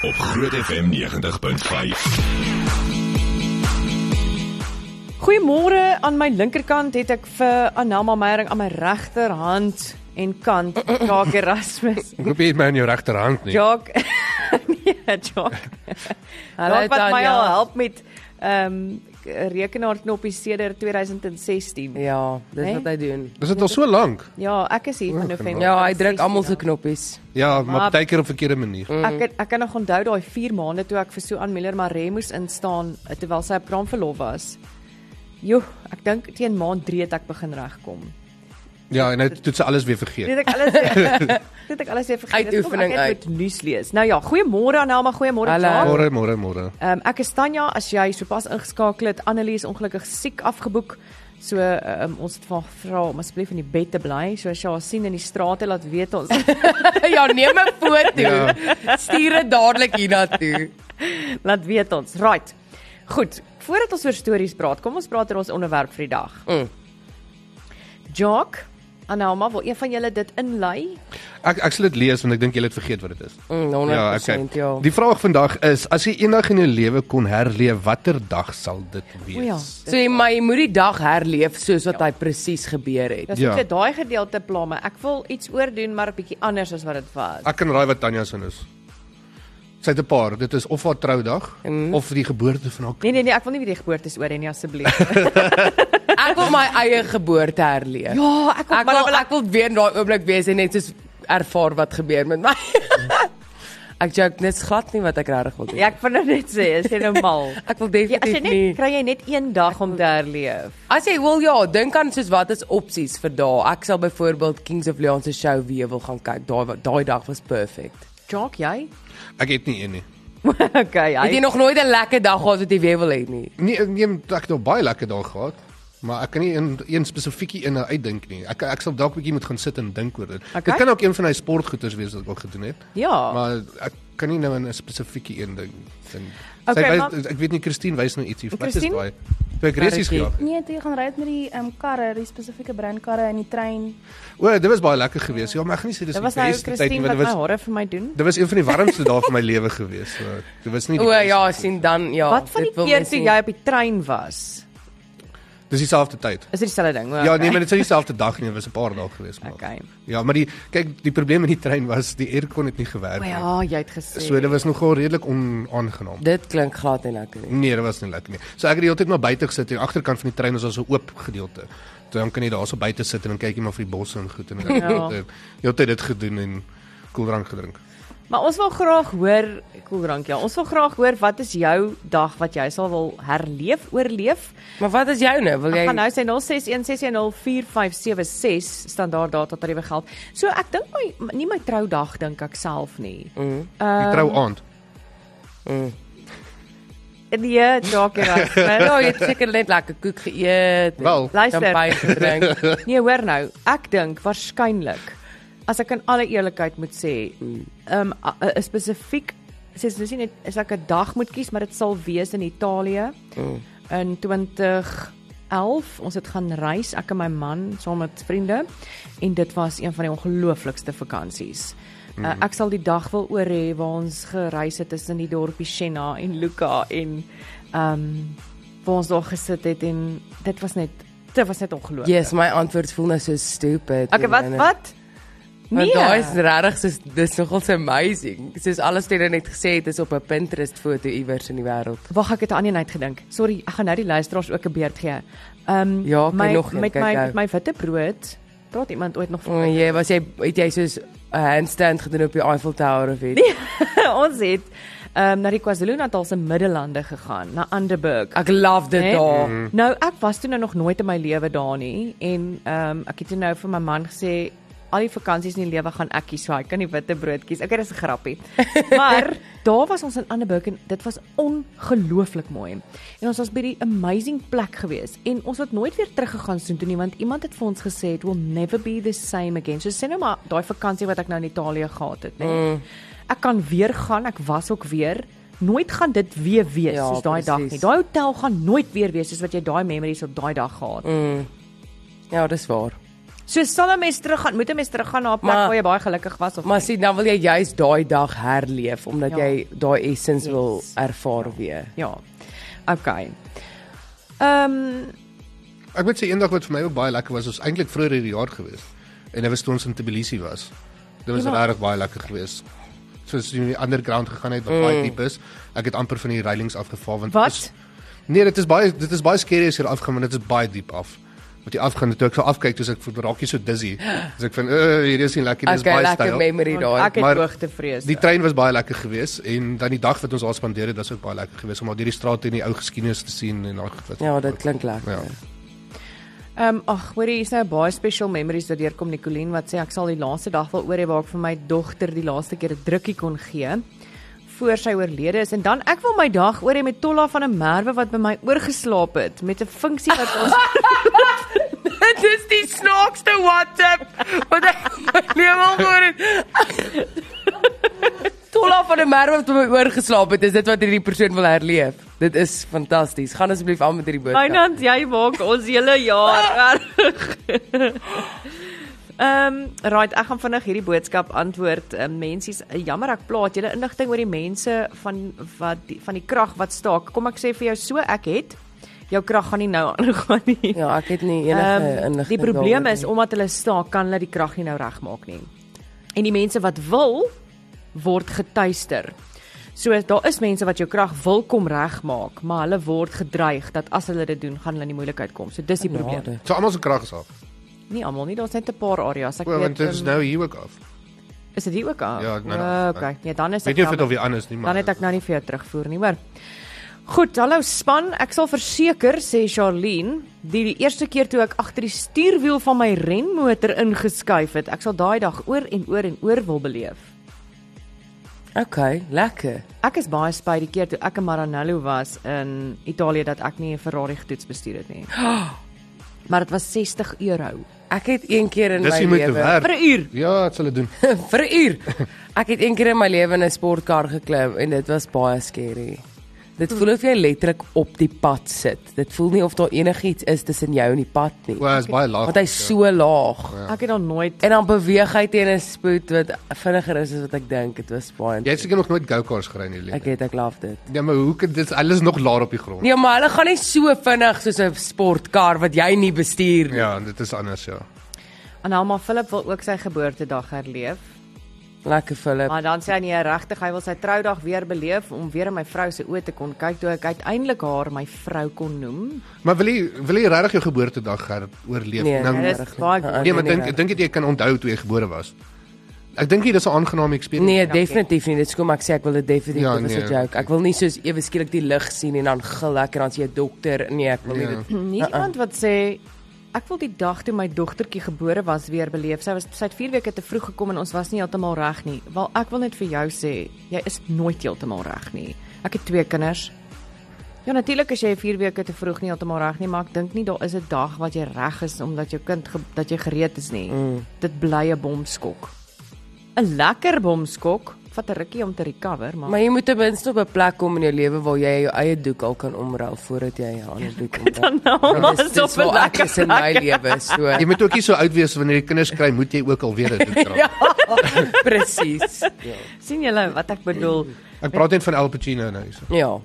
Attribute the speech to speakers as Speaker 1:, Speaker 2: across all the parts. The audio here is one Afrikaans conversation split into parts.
Speaker 1: op Groot FM 90.5.
Speaker 2: Goeiemôre aan my linkerkant het ek vir Anelma Meyering aan my regterhand en kant Jacques Erasmus.
Speaker 3: Ek hoop jy het my in jou regterhand nie.
Speaker 2: Jacques. nee, Jacques. Hallo wat my
Speaker 4: Tanya.
Speaker 2: al help met ehm um, rekenaarknoppie sedert 2016.
Speaker 4: Ja, dis
Speaker 2: Hè?
Speaker 4: nee? wat hy doen.
Speaker 3: Dis dit al so lank.
Speaker 2: Ja, ek is hier van November.
Speaker 4: Ja, hy druk
Speaker 2: 2016
Speaker 4: almal
Speaker 2: af.
Speaker 4: se knoppies.
Speaker 3: Ja, maar
Speaker 2: Maar-
Speaker 3: baie keer op verkeerde manier.
Speaker 2: Ek het, ek kan nog onthou daai 4 maande toe ek vir Suan Miller Maree moes instaan eh, terwyl sy op kraamverlof was. Jo, ek dink teen maand 3 het ek begin regkom.
Speaker 3: Ja, en hy doen se alles weer vergeet.
Speaker 2: Dit ek alles weer- dit ek alles weer vergeet. Dit kom,
Speaker 4: Uitoefening
Speaker 2: ek het
Speaker 4: uit.
Speaker 2: moet nuus lees. Nou ja, goeiemôre Anelma, goeiemôre
Speaker 4: Hallo.
Speaker 2: Jacques.
Speaker 3: Môre, môre, môre.
Speaker 2: Ehm ek is Tanya, as jy sopas ingeskakel het, Annelie is ongelukkig siek afgeboek. So ehm um, ons het van gevra om asseblief in die bed te bly. So as jy haar sien in die strate laat weet ons.
Speaker 4: ja, neem 'n foto.
Speaker 3: Ja.
Speaker 4: Ja. Stuur dit dadelik hiernatoe.
Speaker 2: laat weet ons. Right. Goed, voordat ons oor stories praat, kom ons praat oor ons onderwerp vir die dag.
Speaker 4: Mm.
Speaker 2: Jock, Anelma, wil een van julle dit inlei?
Speaker 3: Ek ek sal dit lees want ek dink jy het vergeet wat dit is.
Speaker 4: Mm, 100%, ja, okay. ja.
Speaker 3: Die vraag vandag is as jy eendag in jou lewe kon herleef, watter dag sal dit
Speaker 2: O ja.
Speaker 3: wees?
Speaker 4: So jy my moet die dag herleef soos wat hy presies gebeur het.
Speaker 2: Dis
Speaker 3: Ja.
Speaker 2: net daai gedeelte pla my. Ek wil iets oordoen maar 'n bietjie anders as wat dit was.
Speaker 3: Ek kan raai wat Tanya se is. Sy het 'n paar. Dit is of haar troudag mm. of die geboorte van haar
Speaker 2: Nee
Speaker 3: kind.
Speaker 2: nee nee, ek wil nie weer die geboortes oor hê nie asseblief.
Speaker 4: Ek wil my eie geboorte herleef.
Speaker 2: ja, ek
Speaker 4: ek wil ek wil weer in daai oomblik wees en net soos ervaar wat gebeur met my. ek joke net glad nie wat ek regtig wil doen.
Speaker 2: Ja, ek wil nou net sê, is jy nou mal?
Speaker 4: Ek wil
Speaker 2: Ja, as jy
Speaker 4: definitief nie.
Speaker 2: net kry jy net een dag om te herleef.
Speaker 4: As jy wil ja, dink aan soos wat is opsies vir daai. Ek sal byvoorbeeld Kings of Leon se show weer wil gaan kyk. Daai wa- daai dag was perfek.
Speaker 2: Jock, jy?
Speaker 3: Ek het nie een nie.
Speaker 2: okay,
Speaker 4: Het jy
Speaker 2: hy.
Speaker 4: nog nooit 'n lekker dag gehad wat jy weer wil hê nie?
Speaker 3: Nee, ek neem ek het al baie lekker dae gehad, maar ek kan nie een een spesifiekie een uitdink nie. Ek ek sal dalk 'n bietjie moet gaan sit en dink oor dit. Okay. Dit kan ook een van daai sportgoeders wees wat ek al gedoen het.
Speaker 2: Ja.
Speaker 3: Maar ek kan nie nou aan 'n spesifiekie een ding dink.
Speaker 2: Okay,
Speaker 3: Okay,
Speaker 2: maar-
Speaker 3: wys, ek weet nie Christine wys nou ietsie wat is
Speaker 2: Christine?
Speaker 3: daai. Toe ek resies
Speaker 4: Marikkie.
Speaker 3: gelag. het.
Speaker 5: Nee, toe jy gaan ry het met die ehm karre, die spesifieke brandkarre en die trein.
Speaker 3: O, dit was baie lekker geweest. Ja, maar ek gaan nie sê dis
Speaker 2: Dit
Speaker 3: die
Speaker 2: was nou
Speaker 3: beste tyd nie,
Speaker 2: Christine wat
Speaker 3: want
Speaker 2: Ja,
Speaker 3: dit
Speaker 2: my
Speaker 3: was
Speaker 2: hare vir my doen.
Speaker 3: dit was een van die warmste dae van my lewe geweest. So, dit was nie die
Speaker 4: O
Speaker 3: beste.
Speaker 4: ja, sien dan ja.
Speaker 2: Wat van die
Speaker 4: dit wil
Speaker 2: keer
Speaker 4: mens
Speaker 2: toe
Speaker 4: nie.
Speaker 2: jy op die trein was?
Speaker 3: Dis dieselfde tyd.
Speaker 2: Is dit dieselfde ding? O,
Speaker 3: Ja,
Speaker 2: okay.
Speaker 3: nee, maar dit sou dieselfde dag nie, dit was 'n paar dae geweest maar.
Speaker 2: Okay.
Speaker 3: Ja, maar die kyk, die probleem met die trein was die aircon het nie gewerk
Speaker 2: O
Speaker 3: nie.
Speaker 2: ja, jy het gesê.
Speaker 3: So dit was nogal redelik onaangenaam.
Speaker 4: Dit klink glad nie lekker nie.
Speaker 3: Nee, dit was nie lekker nie. So ek het die hele tyd maar buite gesit en agterkant van die trein is daar so 'n oop gedeelte. So dan kan jy daarso buite sit en dan kyk jy maar vir die bosse en goed en dan
Speaker 2: Ja.
Speaker 3: jy het dit gedoen en koeldrank gedrink.
Speaker 2: Maar ons wil graag hoor, koeldrank ja, ons wil graag hoor wat is jou dag wat jy sal wil herleef, oorleef?
Speaker 4: Maar wat is joune? Wil
Speaker 2: Ek
Speaker 4: jy
Speaker 2: gaan nou sê 0616104576 standaard data tariewe geld. So ek dink my nie my troudag dink ek self nie.
Speaker 4: Mm.
Speaker 2: Ehm,
Speaker 3: Die trou aand.
Speaker 2: Nee, dalk jy reg.
Speaker 4: nou ja, jy het seker net lekker koek geëet. en
Speaker 3: Wel.
Speaker 2: Luister.
Speaker 4: champagne gedrink.
Speaker 2: Nee, hoor nou. Ek dink waarskynlik as ek in alle eerlikheid moet sê, ehm um, 'n spesifiek sies dis nou nie net as ek 'n dag moet kies, maar dit sal wees in Italië in 2011. Ons het gaan reis, ek en my man saam met vriende en dit was een van die ongelooflikste vakansies. Uh, ek sal die dag wil oor hê waar ons gereis het tussen die dorpie Siena en Lucca en ehm um, waar ons daar gesit het en dit was net dit was net ongelooflik.
Speaker 4: Yes, my antwoord voel nou so stupid.
Speaker 2: Okay, wat wat?
Speaker 4: Nee.
Speaker 2: Nee.
Speaker 4: Daai is regtig soos dis nogal so amazing. Soos alles wat jy net gesê het is op 'n Pinterest foto iewers in die wêreld.
Speaker 2: Wag, ek het aan een uit gedink. Sorry, ek gaan nou die luisteraars ook 'n beurt gee. Ehm um,
Speaker 4: Ja, kan
Speaker 2: my
Speaker 4: nog een,
Speaker 2: met
Speaker 4: kyk
Speaker 2: my
Speaker 4: nou.
Speaker 2: met my witte brood. Praat iemand ooit nog
Speaker 4: O,
Speaker 2: van?
Speaker 4: jy was jy het jy soos 'n handstand gedoen op die Eiffel Tower of iets. Nee.
Speaker 2: Ons het ehm um, na die KwaZulu-Natal se middellande gegaan, na Anderburg.
Speaker 4: Ek love dit
Speaker 2: Né?
Speaker 4: daar.
Speaker 3: Mhm.
Speaker 2: Nou ek was toe nou nog nooit in my lewe daar nie en ehm um, ek het toe nou vir my man gesê al die vakansies in die lewe gaan ek kies, so hy kan die witte brood kies. Okay, dis 'n grappie. maar daar was ons in Anneburg en dit was ongelooflik mooi. En ons was by die amazing plek gewees en ons het nooit weer teruggegaan soontoe nie want iemand het vir ons gesê it will never be the same again. So sê nou maar daai vakansie wat ek nou in Italië gehad het, né? Mm. Ek kan weer gaan, ek was ook weer Nooit gaan dit weer wees
Speaker 4: Ja,
Speaker 2: soos daai dag
Speaker 4: presies.
Speaker 2: nie. Daai Daai hotel
Speaker 4: Mm.
Speaker 2: gaan nooit weer wees soos wat jy daai memories op daai dag gehad het.
Speaker 4: Ja, dis waar.
Speaker 2: Mm. So sal 'n mens teruggaan, moet 'n mens teruggaan na 'n plek
Speaker 4: Maar-
Speaker 2: waar jy baie gelukkig was of
Speaker 4: Maar
Speaker 2: nie.
Speaker 4: sien, dan wil jy juis daai dag herleef omdat
Speaker 2: Ja.
Speaker 4: jy daai essence wil
Speaker 2: Yes.
Speaker 4: ervaar weer.
Speaker 2: ja. Okay. Ehm um,
Speaker 3: Ek weet se eendag wat vir my ook baie lekker was, was eintlik vroeër hierdie jaar gewees. En dit was toe ons in Tbilisi was. Dit was
Speaker 2: Ja.
Speaker 3: ja. regtig baie lekker geweest. Soos jy in die underground gegaan het wat
Speaker 4: Mm.
Speaker 3: baie diep is. Ek het amper van die reilings afgeval want
Speaker 2: Wat?
Speaker 3: Is, nee, dit is baie dit is baie skerry as jy afgaan want dit is baie diep af. Wat jy afgaan, toe ek so afkyk, toe is ek voel raak jy so dizzy. Dis ek van, "Uh, hierdie is nie lekker, dis
Speaker 4: Okay,
Speaker 3: baie
Speaker 4: lekker
Speaker 3: styl."
Speaker 4: memory daai.
Speaker 2: ek het
Speaker 3: maar-
Speaker 2: hoogtevrees.
Speaker 3: Die trein was baie lekker geweest en dan die dag wat ons daar spandeer het, was ook baie lekker geweest om al hierdie strate en die ou geskiedenis te sien en daai goed wat.
Speaker 4: Ja, dit klink lekker.
Speaker 3: Ja.
Speaker 2: Ehm um, ag, hoor jy, hier's nou baie special memories wat deurkom Nicoline wat sê ek sal die laaste dag wil oor hê waar ek vir my dogter die laaste keer 'n drukkie kon gee voor sy oorlede is en dan ek wil my dag oor hê met Tolla van 'n merwe wat by my oorgeslaap het met 'n funksie wat ons
Speaker 4: Dit is die snaakste WhatsApp wat ek in my lewe gehoor het. Tolla van die merwe wat by my oorgeslaap het, is dit wat hierdie persoon wil herleef. Dit is fantasties. Gaan asseblief aan met hierdie boodskap.
Speaker 2: Fynand, jy maak ons hele jaar erg. Ehm, um, right, ek gaan vinnig hierdie boodskap antwoord. Um, mensies, eh, jammer ek plaat julle inligting oor die mense van wat die, van die krag wat staak. Kom ek sê vir jou so, ek het jou krag gaan nie nou aangaan nie.
Speaker 4: Ja, ek het nie enige
Speaker 2: Ehm,
Speaker 4: inligting.
Speaker 2: Die probleem
Speaker 4: daaroor
Speaker 2: is
Speaker 4: nie.
Speaker 2: omdat hulle staak kan hulle die krag nie nou regmaak nie. En die mense wat wil word getuister. So daar is mense wat jou krag wil kom regmaak, maar hulle word gedreig dat as hulle dit doen, gaan hulle in die moeilikheid kom. So dis die probleem.
Speaker 4: Genade.
Speaker 3: So almal se krag is af.
Speaker 2: Nie almal nie, daar's net 'n paar areas. Ek
Speaker 3: Wel, want
Speaker 2: weet
Speaker 3: dit is
Speaker 2: um,
Speaker 4: Ehm,
Speaker 3: nou hier ook af.
Speaker 2: is dit hier ook aan?
Speaker 3: Ja, nou,
Speaker 2: O,
Speaker 3: nou,
Speaker 2: okay. Nee, dan is
Speaker 3: Weet
Speaker 2: ek
Speaker 3: nie of
Speaker 2: jammer.
Speaker 3: dit of die ander is nie, maar
Speaker 2: Dan het ek nou nie vir jou terugvoer nie, maar Goed, hallo span. Ek sal verseker, sê Charlene, die die eerste keer toe ek agter die stuurwiel van my renmotor ingeskuif het, ek sal daai dag oor en oor en oor wil beleef.
Speaker 4: Okay, lekker.
Speaker 2: Ek is baie spyt die keer toe ek in Maranello was in Italië dat ek nie 'n Ferrari getoets bestuur het nie. Maar dit was 60 euro
Speaker 4: Ek het een keer in
Speaker 3: Dis
Speaker 4: my
Speaker 3: jy moet te
Speaker 4: lewe
Speaker 2: vir
Speaker 3: werk.
Speaker 2: 'n uur.
Speaker 3: Ja, dit sal dit doen.
Speaker 4: vir 'n uur. Ek het een keer in my lewe in 'n sportkar geklim en dit was baie skerry. Dit voel of jy letterlik op die pad sit. Dit voel nie of daar enigiets is tussen jou en die pad nie.
Speaker 3: Wel, is baie laag.
Speaker 4: Want hy's so laag.
Speaker 3: Ja.
Speaker 2: Ek het al nooit
Speaker 4: En dan beweeg hy teen 'n spoed wat vinniger is as wat ek dink. Dit was baie.
Speaker 3: Jy het seker nog nooit go-karts gery in jou
Speaker 4: Ek
Speaker 3: lewe.
Speaker 4: het ek love dit.
Speaker 3: Ja, maar hoe kan dit alles nog laag op die grond?
Speaker 4: Nee, maar hulle gaan nie so vinnig soos 'n sportkar wat jy nie bestuur nie.
Speaker 3: Ja, dit is anders, ja.
Speaker 2: Anelma Philip wil ook sy geboortedag herleef.
Speaker 3: Ja.
Speaker 4: Lekker Philip.
Speaker 2: Maar dan sê hy nee, regtig, hy wil sy troudag weer beleef om weer in my vrou se oë te kon kyk toe ek uiteindelik haar my vrou kon noem.
Speaker 3: Maar wil jy wil jy regtig jou geboortedag her oorleef?
Speaker 4: Nee,
Speaker 2: Ja,
Speaker 3: nou,
Speaker 4: nee,
Speaker 2: dit
Speaker 3: nee,
Speaker 2: is
Speaker 4: regtig
Speaker 2: baie
Speaker 4: nie.
Speaker 2: goed.
Speaker 3: maar
Speaker 4: nee,
Speaker 3: dink
Speaker 4: nee.
Speaker 3: dink jy jy kan onthou toe jy gebore was? Ek dink nie dis 'n aangename experience.
Speaker 4: Nee, definitief nie. Dit skoon ek sê ek wil dit definitief
Speaker 3: Ja,
Speaker 4: ja, dit is 'n
Speaker 3: nee.
Speaker 4: joke. Ek wil nie soos ewe skielik die lig sien en dan gil ek en dan sê jy dokter. Nee, ek wil nie
Speaker 3: Ja.
Speaker 4: dit.
Speaker 2: Nie uh -uh. iemand wat sê ek wil die dag toe my dogtertjie gebore was weer beleef. Sy was sy het 4 weke te vroeg gekom en ons was nie heeltemal reg nie. Wel, ek wil net vir jou sê, jy is nooit heeltemal reg nie. Ek het twee kinders. Ja natuurlik as jy 4 weke te vroeg nie heeltemal reg nie, maar ek dink nie daar is 'n dag wat jy reg is omdat jou kind ge, dat jy gereed is nie. Mm. Dit bly 'n bomskok. 'n Lekker bomskok vat 'n rukkie om te recover, maar
Speaker 4: Maar jy moet ten minste op 'n plek kom in jou lewe waar jy jou eie doek al kan omruil voordat jy 'n ander doek omruil.
Speaker 2: nou,
Speaker 4: Dis- dis waar ek is in my lewe, so
Speaker 3: Jy moet ook nie so oud wees wanneer jy kinders kry, moet jy ook alweer dit doen. ja.
Speaker 4: presies.
Speaker 2: sien julle wat ek bedoel?
Speaker 3: Ek praat net van Al Pacino nou so.
Speaker 4: Ja.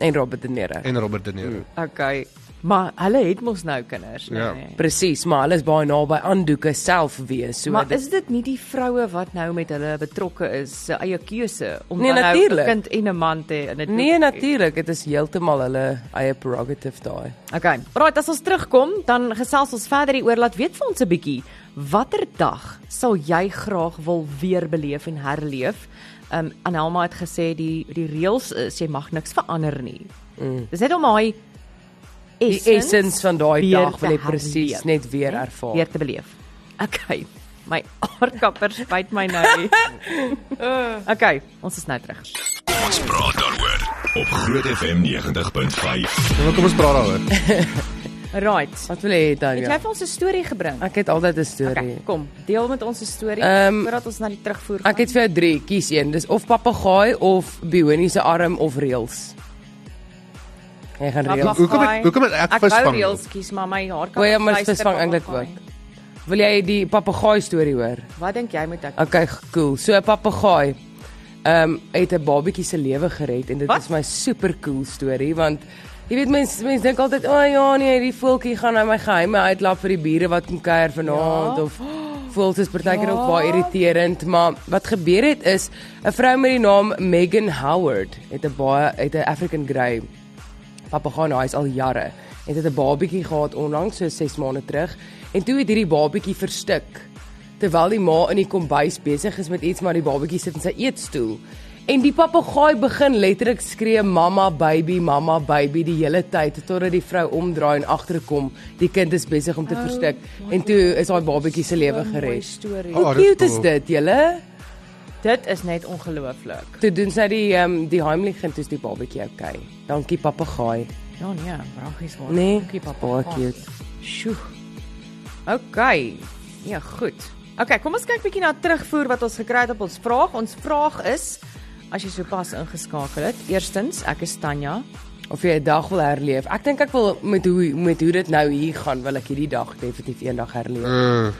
Speaker 4: En Robert De Niro.
Speaker 3: En Robert De Niro.
Speaker 2: Okay. Maar hulle het mos nou kinders,
Speaker 3: Ja.
Speaker 2: nee.
Speaker 4: Presies, maar hulle is baie naby aan doeke self wees. So
Speaker 2: Maar
Speaker 4: dit-
Speaker 2: is dit nie die vroue wat nou met hulle betrokke is se eie keuse om
Speaker 4: Nee,
Speaker 2: dan nou 'n
Speaker 4: natuurlijk.
Speaker 2: kind en 'n man te hê in 'n
Speaker 4: Nee, natuurlik, dit is heeltemal hulle eie prerogative daai.
Speaker 2: Okay. Right, as ons terugkom, dan gesels ons verder hieroor. Laat weet vir ons 'n bietjie watter dag sal jy graag wil weer beleef en herleef? Um Anelma het gesê die die reëls is jy mag niks verander nie. Mm. Dis net om daai
Speaker 4: Die essence van daai
Speaker 2: weer
Speaker 4: dag wil
Speaker 2: te
Speaker 4: jy presies
Speaker 2: herleef,
Speaker 4: net weer
Speaker 2: né?
Speaker 4: ervaar.
Speaker 2: weer te beleef. Okay. My aardkapper spyt my nou. okay, ons is nou terug.
Speaker 1: Ons praat daaroor op Groot FM 90.5.
Speaker 3: Nou kom ons praat daaroor.
Speaker 2: Right.
Speaker 4: Wat wil jy hê dan?
Speaker 2: Het jy vir ons 'n storie gebring?
Speaker 4: Ek het altyd 'n storie.
Speaker 2: Okay, kom, deel met ons 'n storie
Speaker 4: Ehm,
Speaker 2: voordat ons na die terugvoer gaan.
Speaker 4: Ek het vir jou 3, kies een. Dis of papegaai of Bionie se arm of reels. Jy gaan reels.
Speaker 3: Nee, Hoekom het- hoekom het ek
Speaker 2: Ek
Speaker 3: visvang?
Speaker 2: wou reels kies, ja, maar my haar kan
Speaker 4: Oor jy moet
Speaker 2: luister,
Speaker 4: visvang
Speaker 2: maar
Speaker 4: eintlik
Speaker 2: papagai.
Speaker 4: ook. Wil jy die papegaai storie hoor?
Speaker 2: Wat dink jy moet ek?
Speaker 4: Okay, cool. So 'n papegaai ehm het 'n babatjie se lewe gered en dit
Speaker 2: Wat?
Speaker 4: is my super cool storie want jy weet mense mense dink altyd, "O oh, ja, nee, hierdie voeltjie gaan nou my geheime uitlap vir die bure wat kom kuier vanaand
Speaker 2: Ja.
Speaker 4: of voels is partykeer ja. ook baie irriterend, maar wat gebeur het is 'n vrou met die naam Megan Howard het 'n baie het 'n African Grey papegaan hy's al jare. En dit het 'n babatjie gehad onlangs, so 6 maande terug. En toe het hierdie babatjie verstik terwyl die ma in die kombuis besig is met iets, maar die babatjie sit in sy eetstoel. En die papegaai begin letterlik skree mamma baby, mamma baby die hele tyd totdat die vrou omdraai en agterkom die kind is besig om te oh, verstik. En toe is daai babatjie se lewe gered.
Speaker 2: storie.
Speaker 3: Oh,
Speaker 4: Hoe
Speaker 3: dit is
Speaker 4: cute is
Speaker 3: cool.
Speaker 4: dit, julle?
Speaker 2: Dit is net ongelooflik.
Speaker 4: Toe doen sy die ehm um, die heimlich en toe is die babatjie okay. Dankie papegaai.
Speaker 2: Ja nee, braggies waar.
Speaker 4: Nee,
Speaker 2: Dankie, papa.
Speaker 4: baie cute.
Speaker 2: Sjoe. Okay. Ja, goed. Okay, kom ons kyk bietjie na terugvoer wat ons gekry het op ons vraag. Ons vraag is as jy sopas ingeskakel het. Eerstens, ek is Tanya.
Speaker 4: of jy 'n dag wil herleef. Ek dink ek wil met hoe met hoe dit nou hier gaan, wil ek hierdie dag definitief eendag herleef.
Speaker 3: Uh,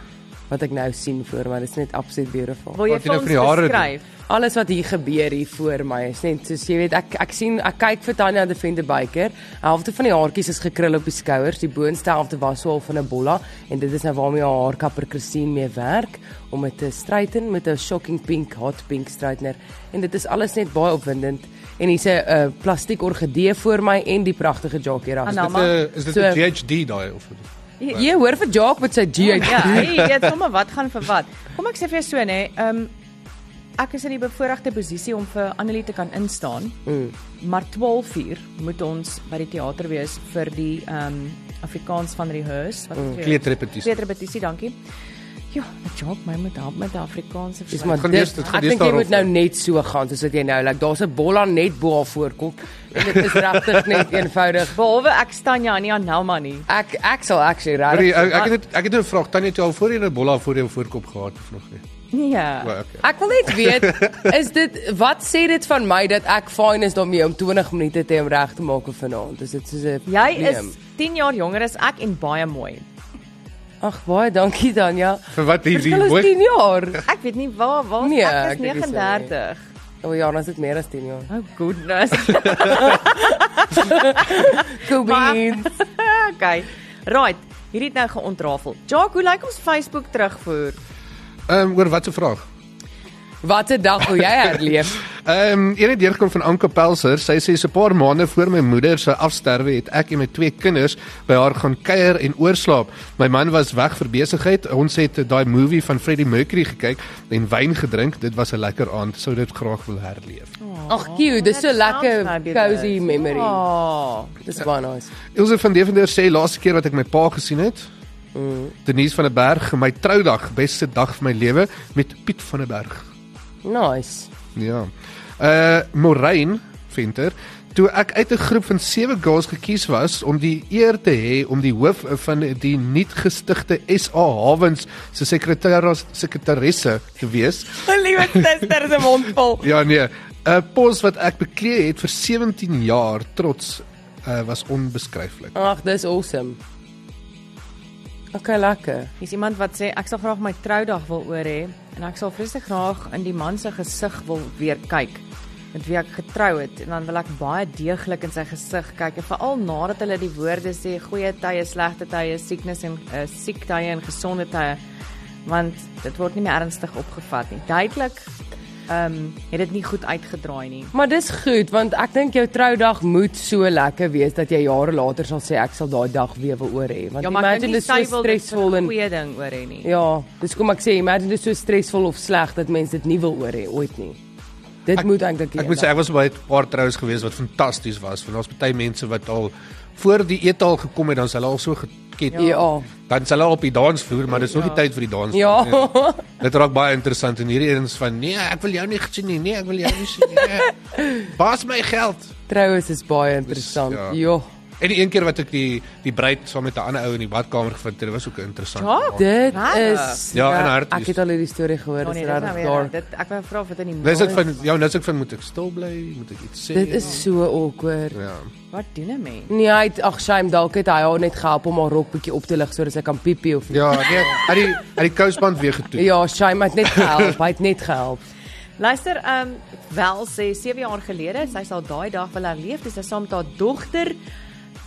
Speaker 4: Wat ek nou sien voor my, dit is net absoluut beautiful.
Speaker 2: Wil jy
Speaker 3: Wat
Speaker 2: vir
Speaker 3: doen
Speaker 2: ons
Speaker 3: jy nou vir die hare doen?
Speaker 2: beskryf?
Speaker 4: Alles wat hier gebeur hier voor my is net soos jy weet, ek ek sien ek kyk vir Tanya the Venter Biker. Helfte van die haartjies is gekrul op die skouers, die boonste helfte was so al van 'n bolla en dit is nou waarmee haar haarkapper Christine mee werk om dit te straighten met 'n shocking pink hot pink straightener en dit is alles net baie opwindend. En hier's 'n uh, plastiek orgidee voor my en die pragtige jockey rag.
Speaker 2: Anna,
Speaker 3: dit, eh, is dit 'n
Speaker 4: So-
Speaker 3: PhD daai of
Speaker 4: Jy, jy hoor vir Jacques met sy GH.
Speaker 2: Ja, hey, jy weet sommer wat gaan vir wat. Kom ek sê vir jou so nê, ehm ek is in die bevoordeelde posisie om vir Annelie te kan instaan. Mm. Maar 12uur moet ons by die teater wees vir die ehm Afrikaans van rehearse wat mm.
Speaker 3: kleedrepetisie?
Speaker 2: Kleedrepetisie, dankie. Ja, maar Jock, my moet help met die Afrikaanse
Speaker 4: Dis
Speaker 2: verslag.
Speaker 4: maar
Speaker 3: gaan
Speaker 4: dit,
Speaker 3: lees- dit gaan
Speaker 4: ek
Speaker 3: lees
Speaker 4: dink jy
Speaker 3: daarop,
Speaker 4: moet nou net so gaan soos wat jy nou, like daar's 'n bol aan net bo haar voorkom. En Dit is regtig net eenvoudig.
Speaker 2: Behalwe ek staan ja nie aan Helma nie.
Speaker 4: Ek ek sal actually
Speaker 3: Hoorie, ek
Speaker 4: reg.
Speaker 3: ek het ek het 'n vraag. Tannie het jy al voorheen 'n bolla voor jou voorkop gehad of nog nie?
Speaker 2: Nee.
Speaker 3: Ja, okay.
Speaker 4: Ek wil net weet, is dit wat sê dit van my dat ek fyn is daarmee om 20 minute te hom reg te maak vir vanaand? Is dit soos 'n
Speaker 2: Jy
Speaker 4: probleem?
Speaker 2: is 10 jaar jonger as ek en baie mooi.
Speaker 4: Ag baie dankie Danja.
Speaker 3: Vir wat hierdie
Speaker 4: Verskil is
Speaker 3: hoor?
Speaker 4: 10 jaar.
Speaker 2: Ek weet nie waar waar
Speaker 4: Nee,
Speaker 2: ek
Speaker 4: ek
Speaker 2: is
Speaker 4: dink nie so nie.
Speaker 2: 39.
Speaker 4: O ja, dan is dit meer as 10 jaar.
Speaker 2: Oh goodness.
Speaker 4: Cool beans.
Speaker 2: okay. Right. Hierdie het nou geontrafel. Jacques, hoe lyk ons Facebook terugvoer?
Speaker 3: Ehm oor wat se vraag?
Speaker 4: Wat 'n dag wil jy herleef?
Speaker 3: Ehm um, een het deurkom van Anke Pelser. Sy sê so 'n paar maande voor my moeder se afsterwe het ek en my twee kinders by haar gaan kuier en oorslaap. My man was weg vir besigheid. Ons het daai movie van Freddie Mercury gekyk en wyn gedrink. Dit was 'n lekker aand. Sou dit graag wil herleef.
Speaker 4: Ag cute,
Speaker 2: Ja,
Speaker 4: dis so lekker cozy memory.
Speaker 2: Oh,
Speaker 4: Dis baie nice.
Speaker 3: Ilse van Deventer sê laaste keer wat ek my pa gesien het, Denise van der Berg, my troudag, beste dag van my lewe met Piet van der Berg.
Speaker 4: Nice.
Speaker 3: Ja. Uh Morein Venter, toe ek uit 'n groep van sewe girls gekies was om die eer te hê om die hoof van die nuut gestigte SA Hawens se sekretaris sekretarisse te wees.
Speaker 2: liewe suster se mond vol.
Speaker 3: Ja nee, 'n pos wat ek beklee het vir 17 jaar trots uh was onbeskryflik.
Speaker 4: Ag, dis awesome. Okay, lekker.
Speaker 2: Is iemand wat sê ek sal graag my troudag wil oor hê en ek sal vreeslik graag in die man se gesig wil weer kyk met wie ek getrou het en dan wil ek baie deeglik in sy gesig kyk en veral nadat hulle die woorde sê goeie tye, slegte tye, siekness en uh, siek tye en gesonde tye want dit word nie meer ernstig opgevat nie. Duidelik ehm um, het dit nie goed uitgedraai nie.
Speaker 4: Maar dis goed want ek dink jou troudag moet so lekker wees dat jy jare later sal sê ek sal daai dag weer wil oor hê. Want
Speaker 2: Ja,
Speaker 4: ja,
Speaker 2: maar ek dink
Speaker 4: imagine
Speaker 2: nie
Speaker 4: dis
Speaker 2: sy
Speaker 4: so
Speaker 2: wil dit vir 'n
Speaker 4: stresvol en
Speaker 2: goeie ding oor hê nie.
Speaker 4: ja, dis kom ek sê imagine dis so stresvol of sleg dat mense dit nie wil oor hê ooit nie. Dit ek, moet eintlik
Speaker 3: Ek moet sê ek was by 'n paar troues gewees wat fantasties was. Want daar's baie mense wat al voor die eettaal gekom het, dan is hulle al so geket.
Speaker 4: ja.
Speaker 3: Dan is hulle op die dansvloer, maar dis nog nie tyd vir die dans nie.
Speaker 4: Ja.
Speaker 3: Dit raak baie interessant en hierdie eens van nee, ek wil jou nie sien nie. Nee, ek wil jou nie sien nie. Nee. Pas my geld.
Speaker 4: Troues is baie interessant.
Speaker 3: ja.
Speaker 4: Ja.
Speaker 3: En die een keer wat ek die die bruid saam met 'n ander ou in die badkamer gevind het, dit was ook 'n interessante.
Speaker 2: Ja,
Speaker 3: verhaal.
Speaker 4: Dit
Speaker 2: Regtig?
Speaker 4: is
Speaker 3: Ja, en hard
Speaker 4: Ek
Speaker 3: is-
Speaker 4: het al hierdie storie gehoor,
Speaker 2: Oh,
Speaker 4: dit
Speaker 2: nee,
Speaker 4: is
Speaker 2: dit is nou
Speaker 4: regtig
Speaker 2: weer
Speaker 4: daar.
Speaker 2: dit ek wou vra of dit in die
Speaker 3: Nou is dit
Speaker 2: maal is.
Speaker 3: van ja, nou is dit van moet ek stil bly, moet ek iets sê?
Speaker 4: Dit is so awkward.
Speaker 3: ja.
Speaker 2: wat doen 'n mens?
Speaker 4: Nee, hy het- ag shame dalk het hy haar net gehelp om haar rok bietjie op te lig sodat sy kan piepie of
Speaker 3: Ja, nee, uit die uit die kousband weer getoe.
Speaker 4: Ja, shame hy het net gehelp, hy het net gehelp.
Speaker 2: Luister, ehm um, wel sê 7 jaar gelede, sy sal daai dag wil herleef, dis sy saam met haar dogter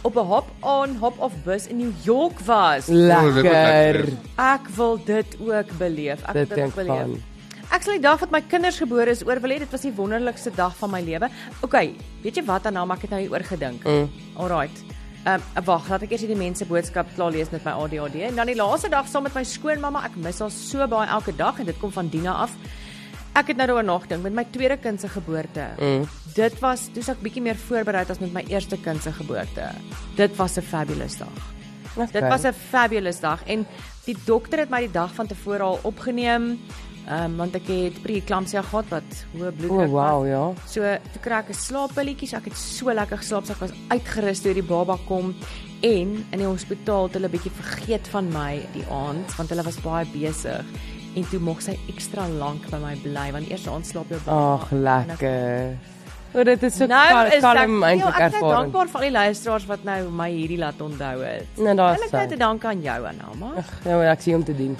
Speaker 2: op 'n hop on hop off bus in New York was.
Speaker 3: Oh, dit moet
Speaker 4: Lekker.
Speaker 3: wees.
Speaker 2: Ek wil dit ook beleef. Ek wil
Speaker 4: Dit
Speaker 2: dit ook
Speaker 4: klink
Speaker 2: beleef.
Speaker 4: fun.
Speaker 2: Ek sal die dag wat my kinders gebore is oor wil hê, dit was die wonderlikste dag van my lewe. OK, weet jy wat Anna, maar ek het nou hieroor gedink. Mm. Alraight. Ehm um, wag, laat ek eers hierdie mense boodskap klaar lees met my ADHD en dan die laaste dag saam met my skoonmamma. Ek mis haar so baie elke dag en dit kom van Dina af. Ek het nou daaroor nagedink met my tweede kind se geboorte. Mm. Dit was toe's ek bietjie meer voorberei as met my eerste kind se geboorte. Dit was 'n fabulous dag. Dit was 'n fabulous dag en die dokter het my die dag van tevore al opgeneem. Ehm um, want ek het preeklampsia gehad wat hoë bloeddruk
Speaker 4: O,
Speaker 2: was.
Speaker 4: wow, ja.
Speaker 2: So toe kry ek 'n slaappilletjies. Ek het so lekker geslaap, so ek was uitgerus toe die baba kom en in die hospitaal het hulle bietjie vergeet van my die aand want hulle was baie besig en toe moeg sy ekstra lank by my bly want eers aan slaap jou baba.
Speaker 4: Ag,
Speaker 2: en ek-
Speaker 4: lekker. O, dit is so
Speaker 2: Nou
Speaker 4: kal-
Speaker 2: is
Speaker 4: kalm
Speaker 2: ek,
Speaker 4: eintlik
Speaker 2: jo, ek is
Speaker 4: ervaring.
Speaker 2: dankbaar vir al die luisteraars wat nou my hierdie laat onthou het.
Speaker 4: Nee, daar is
Speaker 2: Hulle kry
Speaker 4: sy.
Speaker 2: te dank aan jou Anna.
Speaker 4: Ja, maar ek sien om te doen.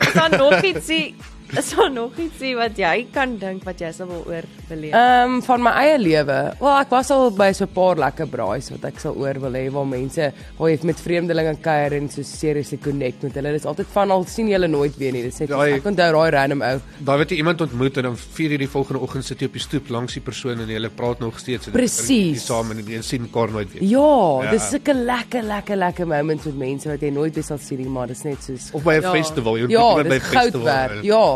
Speaker 2: Is daar nog ietsie is daar nog ietsie wat jy kan dink wat jy sou wil oorbeleef?
Speaker 4: Ehm um, van my eie lewe. Wel, ek was al by so 'n paar lekker braais wat ek sal oor wil hê waar mense waar jy met vreemdelinge kuier en so seriously connect met hulle. Dis altyd van al sien jy hulle nooit weer nie. Dis net
Speaker 3: Daai-
Speaker 4: ek onthou daai random ou.
Speaker 3: Daar het jy iemand ontmoet en dan 4 uur die volgende oggend sit jy op die stoep langs die persoon en jy praat nog steeds en
Speaker 4: Presies.
Speaker 3: Jy saam en jy sien mekaar nooit weer.
Speaker 4: Ja,
Speaker 3: Ja.
Speaker 4: ja, dis sulke lekker lekker lekker moments met mense wat jy nooit weer sal sien nie, maar dis net soos
Speaker 3: Of by
Speaker 2: Ja.
Speaker 3: 'n ja. festival, jy
Speaker 4: Ja,
Speaker 3: moet by 'n
Speaker 4: dis goud werd. Ja.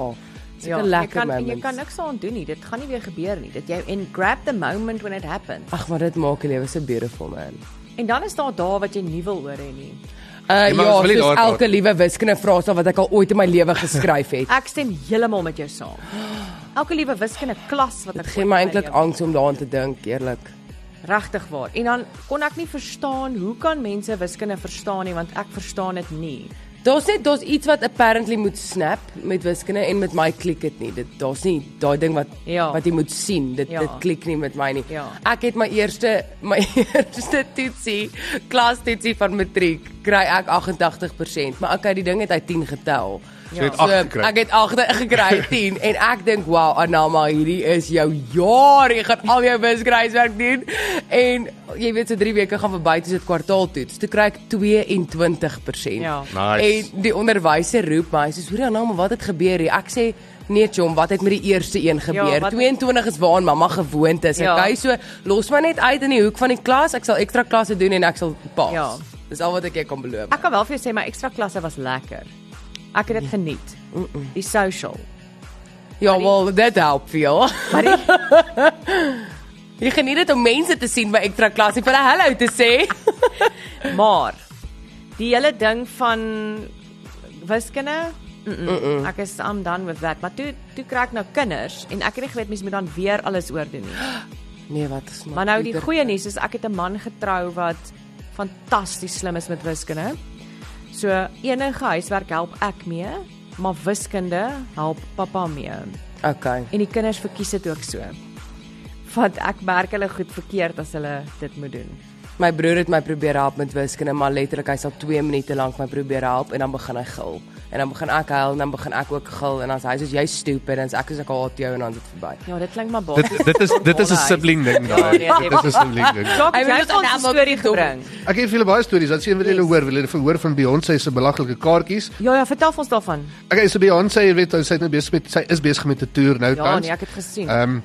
Speaker 4: Dis ja,
Speaker 2: jy
Speaker 4: lekker
Speaker 2: kan en jy
Speaker 4: moments.
Speaker 2: kan niks aan doen nie. Dit gaan nie weer gebeur nie. Dit jy en grab the moment when it happens.
Speaker 4: Ag, maar dit maak die lewe so beautiful man.
Speaker 2: En dan is daar dae wat jy nie wil hoor hê nie.
Speaker 4: Uh,
Speaker 3: Nee, maar ons
Speaker 4: ja,
Speaker 3: wil nie
Speaker 4: dis
Speaker 3: daar praat
Speaker 4: elke liewe wiskunde vraestel wat ek al ooit in my lewe geskryf het.
Speaker 2: Ek stem heeltemal met jou saam. Elke liewe wiskunde klas wat
Speaker 4: Dit
Speaker 2: ek
Speaker 4: gee my eintlik angs om daaraan te dink, eerlik.
Speaker 2: regtig waar. En dan kon ek nie verstaan hoe kan mense wiskunde verstaan nie want ek verstaan dit nie.
Speaker 4: Daar's net daar's iets wat apparently moet snap met wiskunde en met my klik dit nie. Dit daar's nie daai ding wat
Speaker 2: Ja.
Speaker 4: wat jy moet sien. Dit
Speaker 2: Ja.
Speaker 4: dit klik nie met my nie.
Speaker 2: Ja.
Speaker 4: Ek het my eerste my eerste toetsie, klas toetsie van matriek, kry ek 88%, maar okay, die ding het hy 10 getel.
Speaker 2: Ja.
Speaker 3: So jy het acht gekry.
Speaker 4: ek het 8 gekry 10 en ek dink wow, Anama, hierdie is jou jaar. Jy gaan al jou wiskundewerk doen en jy weet so 3 weke gaan verby toe dit kwartaaltoets. Toe kry ek 22%.
Speaker 2: Ja.
Speaker 3: Nice.
Speaker 4: En die onderwyser roep my, hy sê, "Hoor nou, maar wat het gebeur hier?" Ek sê, "Nee, Chom, wat het met die eerste een gebeur?
Speaker 2: Ja, wat-
Speaker 4: 22 is waar mamma gewoond is."
Speaker 2: Ja.
Speaker 4: Ja. Okay, so los my net uit in die hoek van die klas. Ek sal ekstra klasse doen en ek sal paas.
Speaker 2: Ja.
Speaker 4: Ja. Dis al wat ek jou kan beloof.
Speaker 2: Ek kan wel vir jou sê my ekstra klasse was lekker. Ek het dit geniet. Die social.
Speaker 4: ja, wel, dit help veel.
Speaker 2: Maar die
Speaker 4: Jy geniet dit om mense te sien by ekstra klas en vir hulle hallo te sê.
Speaker 2: Maar die hele ding van wiskunde Mm -mm. Ek is am done with that. Maar toe toe kry ek nou kinders en ek het nie geweet mense moet dan weer alles oordoen nie.
Speaker 4: Nee, wat is
Speaker 2: Maar nou die goeie nuus is ek het 'n man getrou wat fantasties slim is met wiskunde. So enige huiswerk help ek mee, maar wiskunde help pappa mee.
Speaker 4: Okay.
Speaker 2: En die kinders verkies dit ook so. Want ek merk hulle goed verkeerd as hulle dit moet doen.
Speaker 4: My broer het my probeer help met wiskunde, maar letterlik hy's al 2 minute lank my probeer help en dan begin hy gil. En dan begin ek huil en dan begin ek ook gil en dan sê hy soos jy stupid en dan sê ek soos ek haat jou en dan is dit verby.
Speaker 2: Ja, dit klink maar baie.
Speaker 3: Dit dit is dit is 'n sibling ding daai.
Speaker 2: Ja, nee,
Speaker 3: Dit is 'n sibling ding.
Speaker 2: Klop,
Speaker 4: Hy
Speaker 2: jy
Speaker 4: moet
Speaker 2: het nou
Speaker 4: dit
Speaker 2: ons 'n
Speaker 4: aanhaal,
Speaker 2: storie
Speaker 4: dom.
Speaker 2: gebring.
Speaker 3: Ek het vir julle baie stories. Wat sien wil julle hoor? Wil julle verhoor van Beyoncé se belaglike kaartjies?
Speaker 2: Ja ja, vertel ons daarvan.
Speaker 3: Okay, so Beyoncé, jy weet, sy is nou besig met sy is besig met 'n toer nou
Speaker 2: Ja,
Speaker 3: tans.
Speaker 2: nee, ek het gesien.
Speaker 3: Ehm um,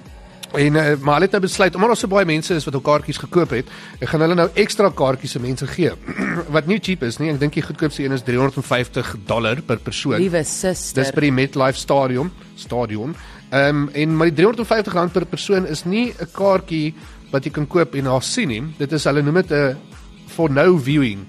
Speaker 3: en uh, maar hulle het nou besluit omdat daar so baie mense is wat al kaartjies gekoop het, ek gaan hulle nou ekstra kaartjies aan mense gee. wat nie cheap is nie. Ek dink die goedkoopste een is 350 dollar per persoon.
Speaker 4: Liewe
Speaker 3: Dis
Speaker 4: suster.
Speaker 3: by die MetLife Stadium, stadion. Ehm um, en maar die 350 rand per persoon is nie 'n kaartjie wat jy kan koop en haar sien nie. Dit is hulle noem dit 'n for no viewing.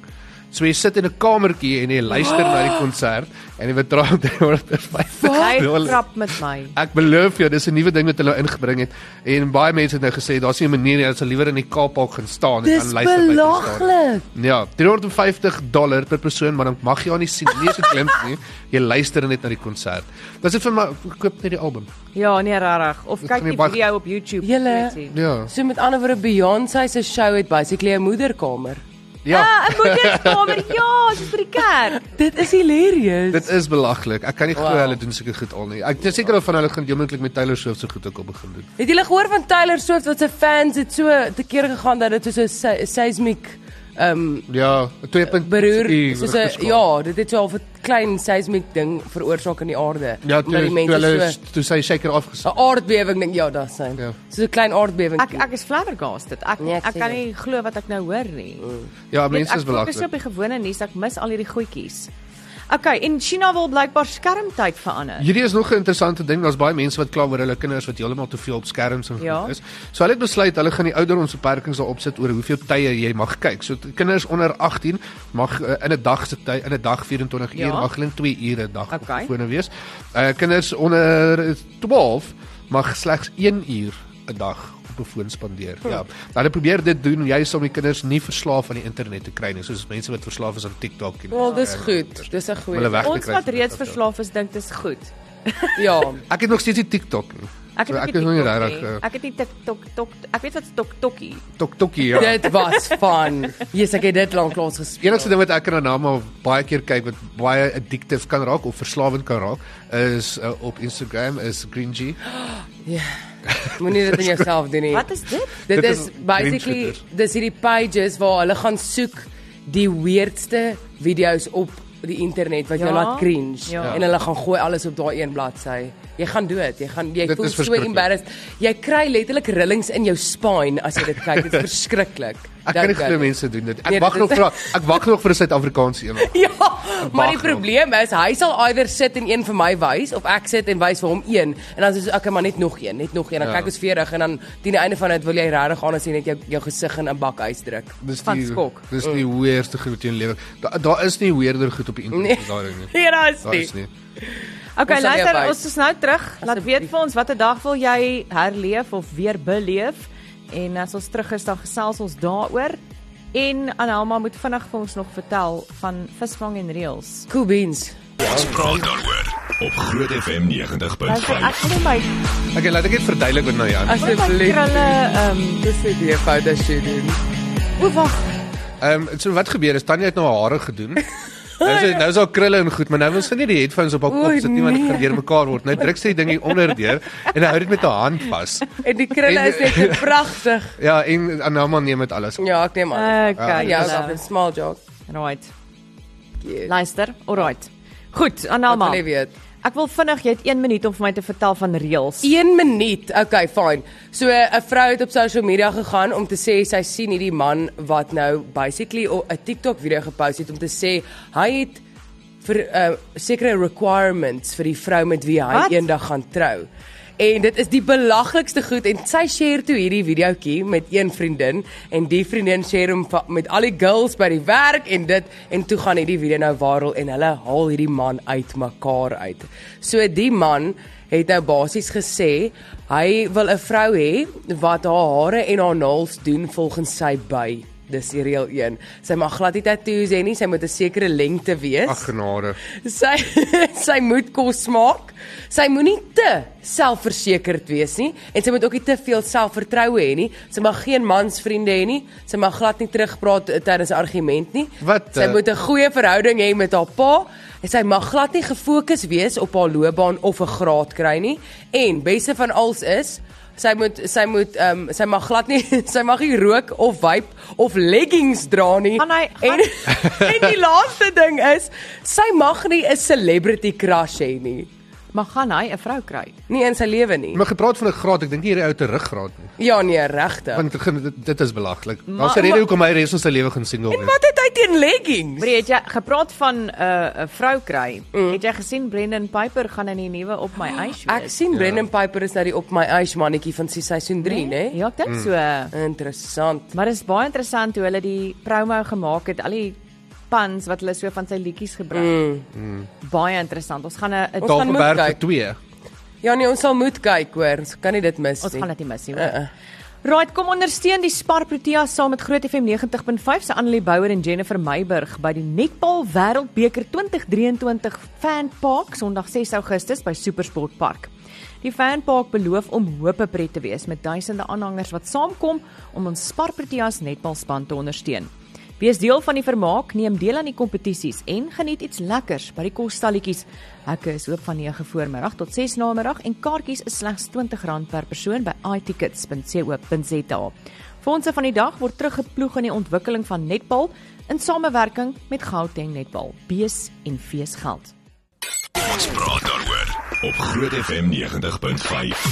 Speaker 3: So jy sit in 'n kamertjie en jy luister na die konsert en jy betaal 350
Speaker 2: Hy
Speaker 3: dollar.
Speaker 2: krap met my.
Speaker 3: Ek beloof jou, dis 'n nuwe ding wat hulle ingebring het en baie mense het nou gesê daar's nie 'n manier nie, hulle sal liewer in die Kaapalk gaan staan en
Speaker 4: Dis
Speaker 3: gaan luister by die stadion.
Speaker 4: belaglik.
Speaker 3: Ja, 350 dollar per persoon, maar dan mag jy aan nie sien nie se klimp nie. Jy luister net na die konsert. Dis dit vir my koop net die album.
Speaker 2: Ja, nee, rarig. Of
Speaker 3: Dit
Speaker 2: kyk
Speaker 3: gaan nie
Speaker 2: die
Speaker 3: baie-
Speaker 2: video op YouTube.
Speaker 4: Julle-
Speaker 2: Weet jy.
Speaker 3: Ja.
Speaker 4: So met ander woorde Beyoncé se show het basically 'n moederkamer.
Speaker 3: Ja.
Speaker 2: Ah, 'n moederskamer. Ja, soos by die kerk.
Speaker 4: Dit is hilarious.
Speaker 3: Dit is belaglik. Ek kan nie glo
Speaker 4: Wow.
Speaker 3: hulle doen sulke goed al nie. Ek is seker van hulle gaan heelmoontlik met Taylor Swift se goed ook al begin doen.
Speaker 4: Het julle gehoor van Taylor Swift wat sy fans het so te kere gegaan dat dit so 'n se seismiek ehm um,
Speaker 3: Ja, 'n 2.3
Speaker 4: beroer soos 'n
Speaker 3: geskaal.
Speaker 4: ja, dit het so half 'n klein seismiek ding veroorsaak in die aarde.
Speaker 3: Ja, toe,
Speaker 4: Omdat die
Speaker 3: toe
Speaker 4: mense
Speaker 3: hulle
Speaker 4: so
Speaker 3: toe sy seker afgesit.
Speaker 4: 'n aardbewing ding ja, daar sien.
Speaker 3: Ja.
Speaker 4: Ja. So 'n klein aardbewing.
Speaker 2: Ek ek is flabbergasted. Ek
Speaker 4: Nee,
Speaker 2: nee,
Speaker 4: ek
Speaker 2: ek,
Speaker 4: sien
Speaker 2: ek kan
Speaker 4: dit.
Speaker 2: nie glo wat ek nou hoor nie. Mm.
Speaker 3: Ja,
Speaker 2: Weet,
Speaker 3: mense is
Speaker 2: ek fokus
Speaker 3: belaglik.
Speaker 2: op die gewone nuus. Ek mis al hierdie goedjies. Okay, en China wil blykbaar skermtyd verander.
Speaker 3: Hierdie is nog 'n interessante ding. Daar's baie mense wat kla oor hulle kinders wat heeltemal te veel op skerms en goed
Speaker 2: Ja.
Speaker 3: is. So hulle het besluit hulle gaan die ouderdomsbeperkings daarop sit oor hoeveel tye jy mag kyk. So t- kinders onder 18 mag uh, in 'n dag se tyd in 'n dag 24 uur,
Speaker 2: Ja.
Speaker 3: mag hulle in 2 ure 'n dag
Speaker 2: Okay.
Speaker 3: okay. gewone wees. Uh kinders onder 12 mag slegs 1 uur 'n dag op 'n foon spandeer. Ja.
Speaker 2: Hm.
Speaker 3: Hulle probeer dit doen juis om die kinders nie verslaaf aan die internet te kry nie, soos mense wat verslaaf is aan TikTok en
Speaker 4: Wel, dis
Speaker 3: en-
Speaker 4: goed. Dis 'n
Speaker 3: Ja, Hulle
Speaker 4: goeie.
Speaker 3: weg te
Speaker 2: Ons
Speaker 3: kry
Speaker 2: wat
Speaker 3: van
Speaker 2: reeds
Speaker 3: TikTok.
Speaker 2: verslaaf is, dink dit is goed.
Speaker 4: Ja.
Speaker 3: Ek het nog steeds die TikTok nie.
Speaker 2: Ek
Speaker 3: So
Speaker 2: het
Speaker 3: ek
Speaker 2: ook
Speaker 3: is nog nie
Speaker 2: TikTok
Speaker 3: regtig, eh,
Speaker 2: Ek het nie TikTok tok ek weet wat TikTokie.
Speaker 4: Nee.
Speaker 3: TokTokie ja.
Speaker 4: Dit was fun. Jesus, ek het dit lank lank gespeel.
Speaker 3: Enigste ding wat ek kan na maar baie keer kyk wat baie addictief kan raak of verslawend kan raak is uh, op Instagram is Gringy.
Speaker 4: Moenie dit in jouself doen nie.
Speaker 2: Wat is dit?
Speaker 4: Dit
Speaker 3: Dit
Speaker 4: is
Speaker 3: is
Speaker 4: basically
Speaker 3: Grinch-goeders.
Speaker 4: dis hierdie pages waar hulle gaan soek die weirdste video's op die internet wat jou
Speaker 2: Ja,
Speaker 4: laat cringe
Speaker 2: ja.
Speaker 4: en hulle gaan gooi alles op daai een bladsy. Jy gaan dood. Jy gaan jy
Speaker 3: Dit
Speaker 4: voel
Speaker 3: is
Speaker 4: so
Speaker 3: verskriklik.
Speaker 4: embarrassed. Jy kry letterlik rillings in jou spine as jy dit kyk. Dit is verskriklik.
Speaker 3: Ek kan nie
Speaker 4: Don't
Speaker 3: glo
Speaker 4: do it.
Speaker 3: mense doen dit.
Speaker 4: Nee,
Speaker 3: Ek wag
Speaker 4: dit
Speaker 3: nog
Speaker 4: is-
Speaker 3: vir ek wag nog vir 'n Suid-Afrikaanse een.
Speaker 4: Ja, maar die
Speaker 3: nog.
Speaker 4: probleem is hy sal either sit en een vir my wys of ek sit en wys vir hom een en dan is dit okay maar net nog een, net nog een. Dan
Speaker 3: Ja.
Speaker 4: ja. kyk ons 40 en dan teen die einde van dit wil jy regtig aan sien net jou jou gesig in 'n bak uitdruk.
Speaker 3: Dis
Speaker 2: Van
Speaker 3: die
Speaker 2: skok. Oh.
Speaker 3: dis die weerste goed in die lewe. Da- Daar da is nie weerder goed op die internet
Speaker 4: Nee.
Speaker 3: as daai ding nie.
Speaker 2: Hier is
Speaker 3: Daar is
Speaker 2: dit.
Speaker 3: nie.
Speaker 2: Okay,
Speaker 4: Ons sal
Speaker 2: luister,
Speaker 4: jou wys.
Speaker 2: ons is nou terug. Laat weet vir ons watter dag wil jy herleef of weer beleef? En as ons terug is dan gesels ons daaroor. En Anelma moet vinnig vir ons nog vertel van visvang en reëls.
Speaker 4: Cool beans.
Speaker 1: Ons praat daaroor op Groot FM 90.5.
Speaker 2: Luister, ek wil nie my
Speaker 3: Okay, laat ek dit verduidelik wat nou ja.
Speaker 2: Wat my
Speaker 4: Asseblief.
Speaker 2: krulle ehm um,
Speaker 4: Dis 'n idee fout as jy doen.
Speaker 2: o wag.
Speaker 3: Ehm um, so wat gebeur is Tanya het nou haar hare gedoen. Nou is nou is haar krulle en goed, maar nou wil sy nie die headphones op haar
Speaker 4: Oei,
Speaker 3: kop sit nie want dit
Speaker 4: nee.
Speaker 3: gaan deurmekaar word. Nou druk sy die ding hier onder deur en hy hou dit met haar hand vas.
Speaker 4: En die krulle is net so pragtig.
Speaker 3: Ja, en Anama neem dit alles.
Speaker 4: Ja, ek neem aan.
Speaker 2: Okay.
Speaker 4: Ja,
Speaker 2: julle.
Speaker 4: dit is 'n small joke.
Speaker 2: Right.
Speaker 4: Cute.
Speaker 2: Luister. Alright. Goed, Anelma.
Speaker 4: Wat wil jy weet?
Speaker 2: Ek wil vinnig, jy het 1 minuut om vir my te vertel van reëls.
Speaker 4: 1 minuut. Okay, fyn. So 'n vrou het op social media gegaan om te sê sy sien hierdie man wat nou basically o- 'n TikTok video gepost het om te sê hy het vir uh, sekere requirements vir die vrou met wie hy
Speaker 2: Wat?
Speaker 4: eendag gaan trou. En dit is die belaglikste goed en sy share toe hierdie videoetjie met een vriendin en die vriendin share hom va- met al die girls by die werk en dit en toe gaan hierdie video nou viral en hulle haal hierdie man uitmekaar uit. So die man het nou basies gesê hy wil 'n vrou hê wat haar hare en haar nails doen volgens sy by. Dis die reël 1. Sy mag glad nie tattoos hê nie, sy moet 'n sekere lengte wees.
Speaker 3: Ag genade.
Speaker 4: Sy sy moet kos maak. Sy moenie te selfversekerd wees nie en sy moet ook nie te veel selfvertroue hê nie. Sy mag geen mansvriende hê nie. Sy mag glad nie terugpraat eh, tydens 'n argument nie.
Speaker 3: Wat,
Speaker 4: Sy
Speaker 3: eh?
Speaker 4: moet 'n goeie verhouding hê met haar pa en sy mag glad nie gefokus wees op haar loopbaan of 'n graad kry nie. En beste van alles is Sy moet sy moet ehm um, sy mag glad nie sy mag nie rook of vape of leggings dra nie.
Speaker 2: Gaan hy-
Speaker 4: en, en die laaste ding is sy mag nie 'n celebrity crush hê nie.
Speaker 2: Maar gaan hy 'n vrou kry?
Speaker 4: Nie in sy lewe nie.
Speaker 3: Maar gepraat van 'n graad, ek dink nie hierdie ou te ruggraad nie.
Speaker 4: Ja nee, regtig.
Speaker 3: Want dit- dit, dit is belaglik. Daar's
Speaker 2: Maar-
Speaker 3: 'n rede
Speaker 2: maar-
Speaker 3: hoekom hy res van sy lewe gaan single
Speaker 4: En
Speaker 3: is.
Speaker 4: wat het hy teen leggings?
Speaker 2: Maar jy het jy gepraat van 'n uh, 'n vrou kry. Mm. Ah, Het jy gesien Brendan Piper gaan in die nuwe op my eis wees?
Speaker 4: Ek sien Brendan Piper is nou die op my eyes mannetjie van sy seisoen 3, né?
Speaker 2: Ja, ek dink so.
Speaker 4: Interessant.
Speaker 2: Maar dit is baie interessant hoe hulle die promo gemaak het, al die pans wat hulle so van sy liedjies gebring. Mm, mm. Baie interessant. Ons gaan 'n
Speaker 4: Ons gaan moet
Speaker 3: Tafelberg vir
Speaker 4: kyk.
Speaker 3: 2.
Speaker 4: Ja nee, ons sal moet kyk hoor. Ons kan nie dit mis
Speaker 2: Ons
Speaker 4: nie.
Speaker 2: gaan dit nie mis nie. Uh -uh. Right, kom ondersteun die Spar Protea saam met Groot FM 90.5 se Annelie Bouwer en Jennifer Meiburg by die Netbal Wêreldbeker 2023 Fanpark Sondag 6 Augustus by Supersport Park. Die Fanpark beloof om hope pret te wees met duisende aanhangers wat saamkom om ons Spar Protea se netbalspan te ondersteun. Wees deel van die vermaak, neem deel aan die kompetisies en geniet iets lekkers by die kosstalletjies. Hekke is oop van 9 voormiddag tot 6 namiddag en kaartjies is slegs R20 per persoon by itickets.co.za. Fondse van die dag word teruggeploeg in die ontwikkeling van netbal in samewerking met Gauteng Netbal, Bees en Feesgeld.
Speaker 1: Ons praat daaroor op Groot FM 90.5.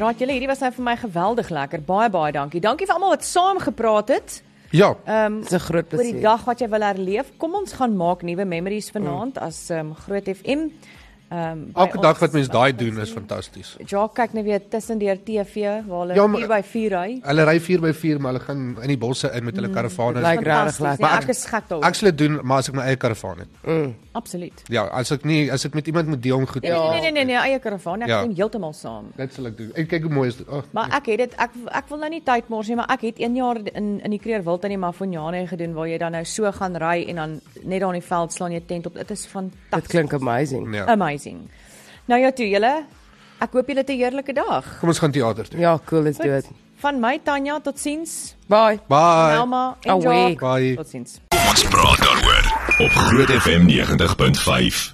Speaker 2: Raad julle, hierdie was nou vir my geweldig lekker. Baie baie dankie. Dankie vir almal wat saam gepraat het.
Speaker 3: Ja,
Speaker 2: Ehm
Speaker 4: Dis 'n groot
Speaker 2: oor die
Speaker 4: plesier.
Speaker 2: dag wat jy wil herleef. Kom ons gaan maak nuwe memories vanaand as um, Groot FM. Ehm um,
Speaker 3: Mm. elke dag wat mens daai doen is fantasties.
Speaker 2: Ja, kyk nou weer tussendeur TV waar hulle
Speaker 3: Ja,
Speaker 2: 4
Speaker 3: maar-
Speaker 2: ja, by 4 ry.
Speaker 3: Hulle ry 4 by 4, maar hulle gaan in die bosse in met hulle
Speaker 4: Mm.
Speaker 3: karavane.
Speaker 4: lyk regtig
Speaker 2: Fantasties,
Speaker 4: lekker.
Speaker 2: nee,
Speaker 3: Maar
Speaker 2: Ek is gek
Speaker 3: Ek
Speaker 2: daaroor.
Speaker 3: sal dit doen, maar as ek my eie karavaan het.
Speaker 2: Absoluut.
Speaker 3: Ja, as ek nie as ek met iemand moet deel om goed.
Speaker 2: Nee, nee nee nee nee, eie karavaan, ek
Speaker 3: Ja.
Speaker 2: ja. kom heeltemal saam.
Speaker 3: Dit sal ek doen. En kyk hoe mooi is dit. Ag.
Speaker 2: Maar ek het dit ek ek wil nou nie tyd mors nie, maar ek het 1 jaar in in die Kreerwild in die Mafonjane gedoen waar jy dan nou so gaan ry en dan net daar in die veld slaan jy tent op. Dit is
Speaker 4: Dit
Speaker 2: fantasties.
Speaker 4: klink amazing.
Speaker 2: Nee.
Speaker 3: Ja.
Speaker 2: Amazing. Nou ja toe julle. Ek hoop julle het 'n heerlike dag.
Speaker 3: Kom ons gaan teater toe.
Speaker 4: Ja, cool, let's do it.
Speaker 2: Van my Tanya tot ziens.
Speaker 4: Bye.
Speaker 3: Bye.
Speaker 2: Nelma en
Speaker 4: Away.
Speaker 2: Jock.
Speaker 3: Bye.
Speaker 2: Tot ziens.
Speaker 1: Ons praat daaroor op Groot FM 90.5.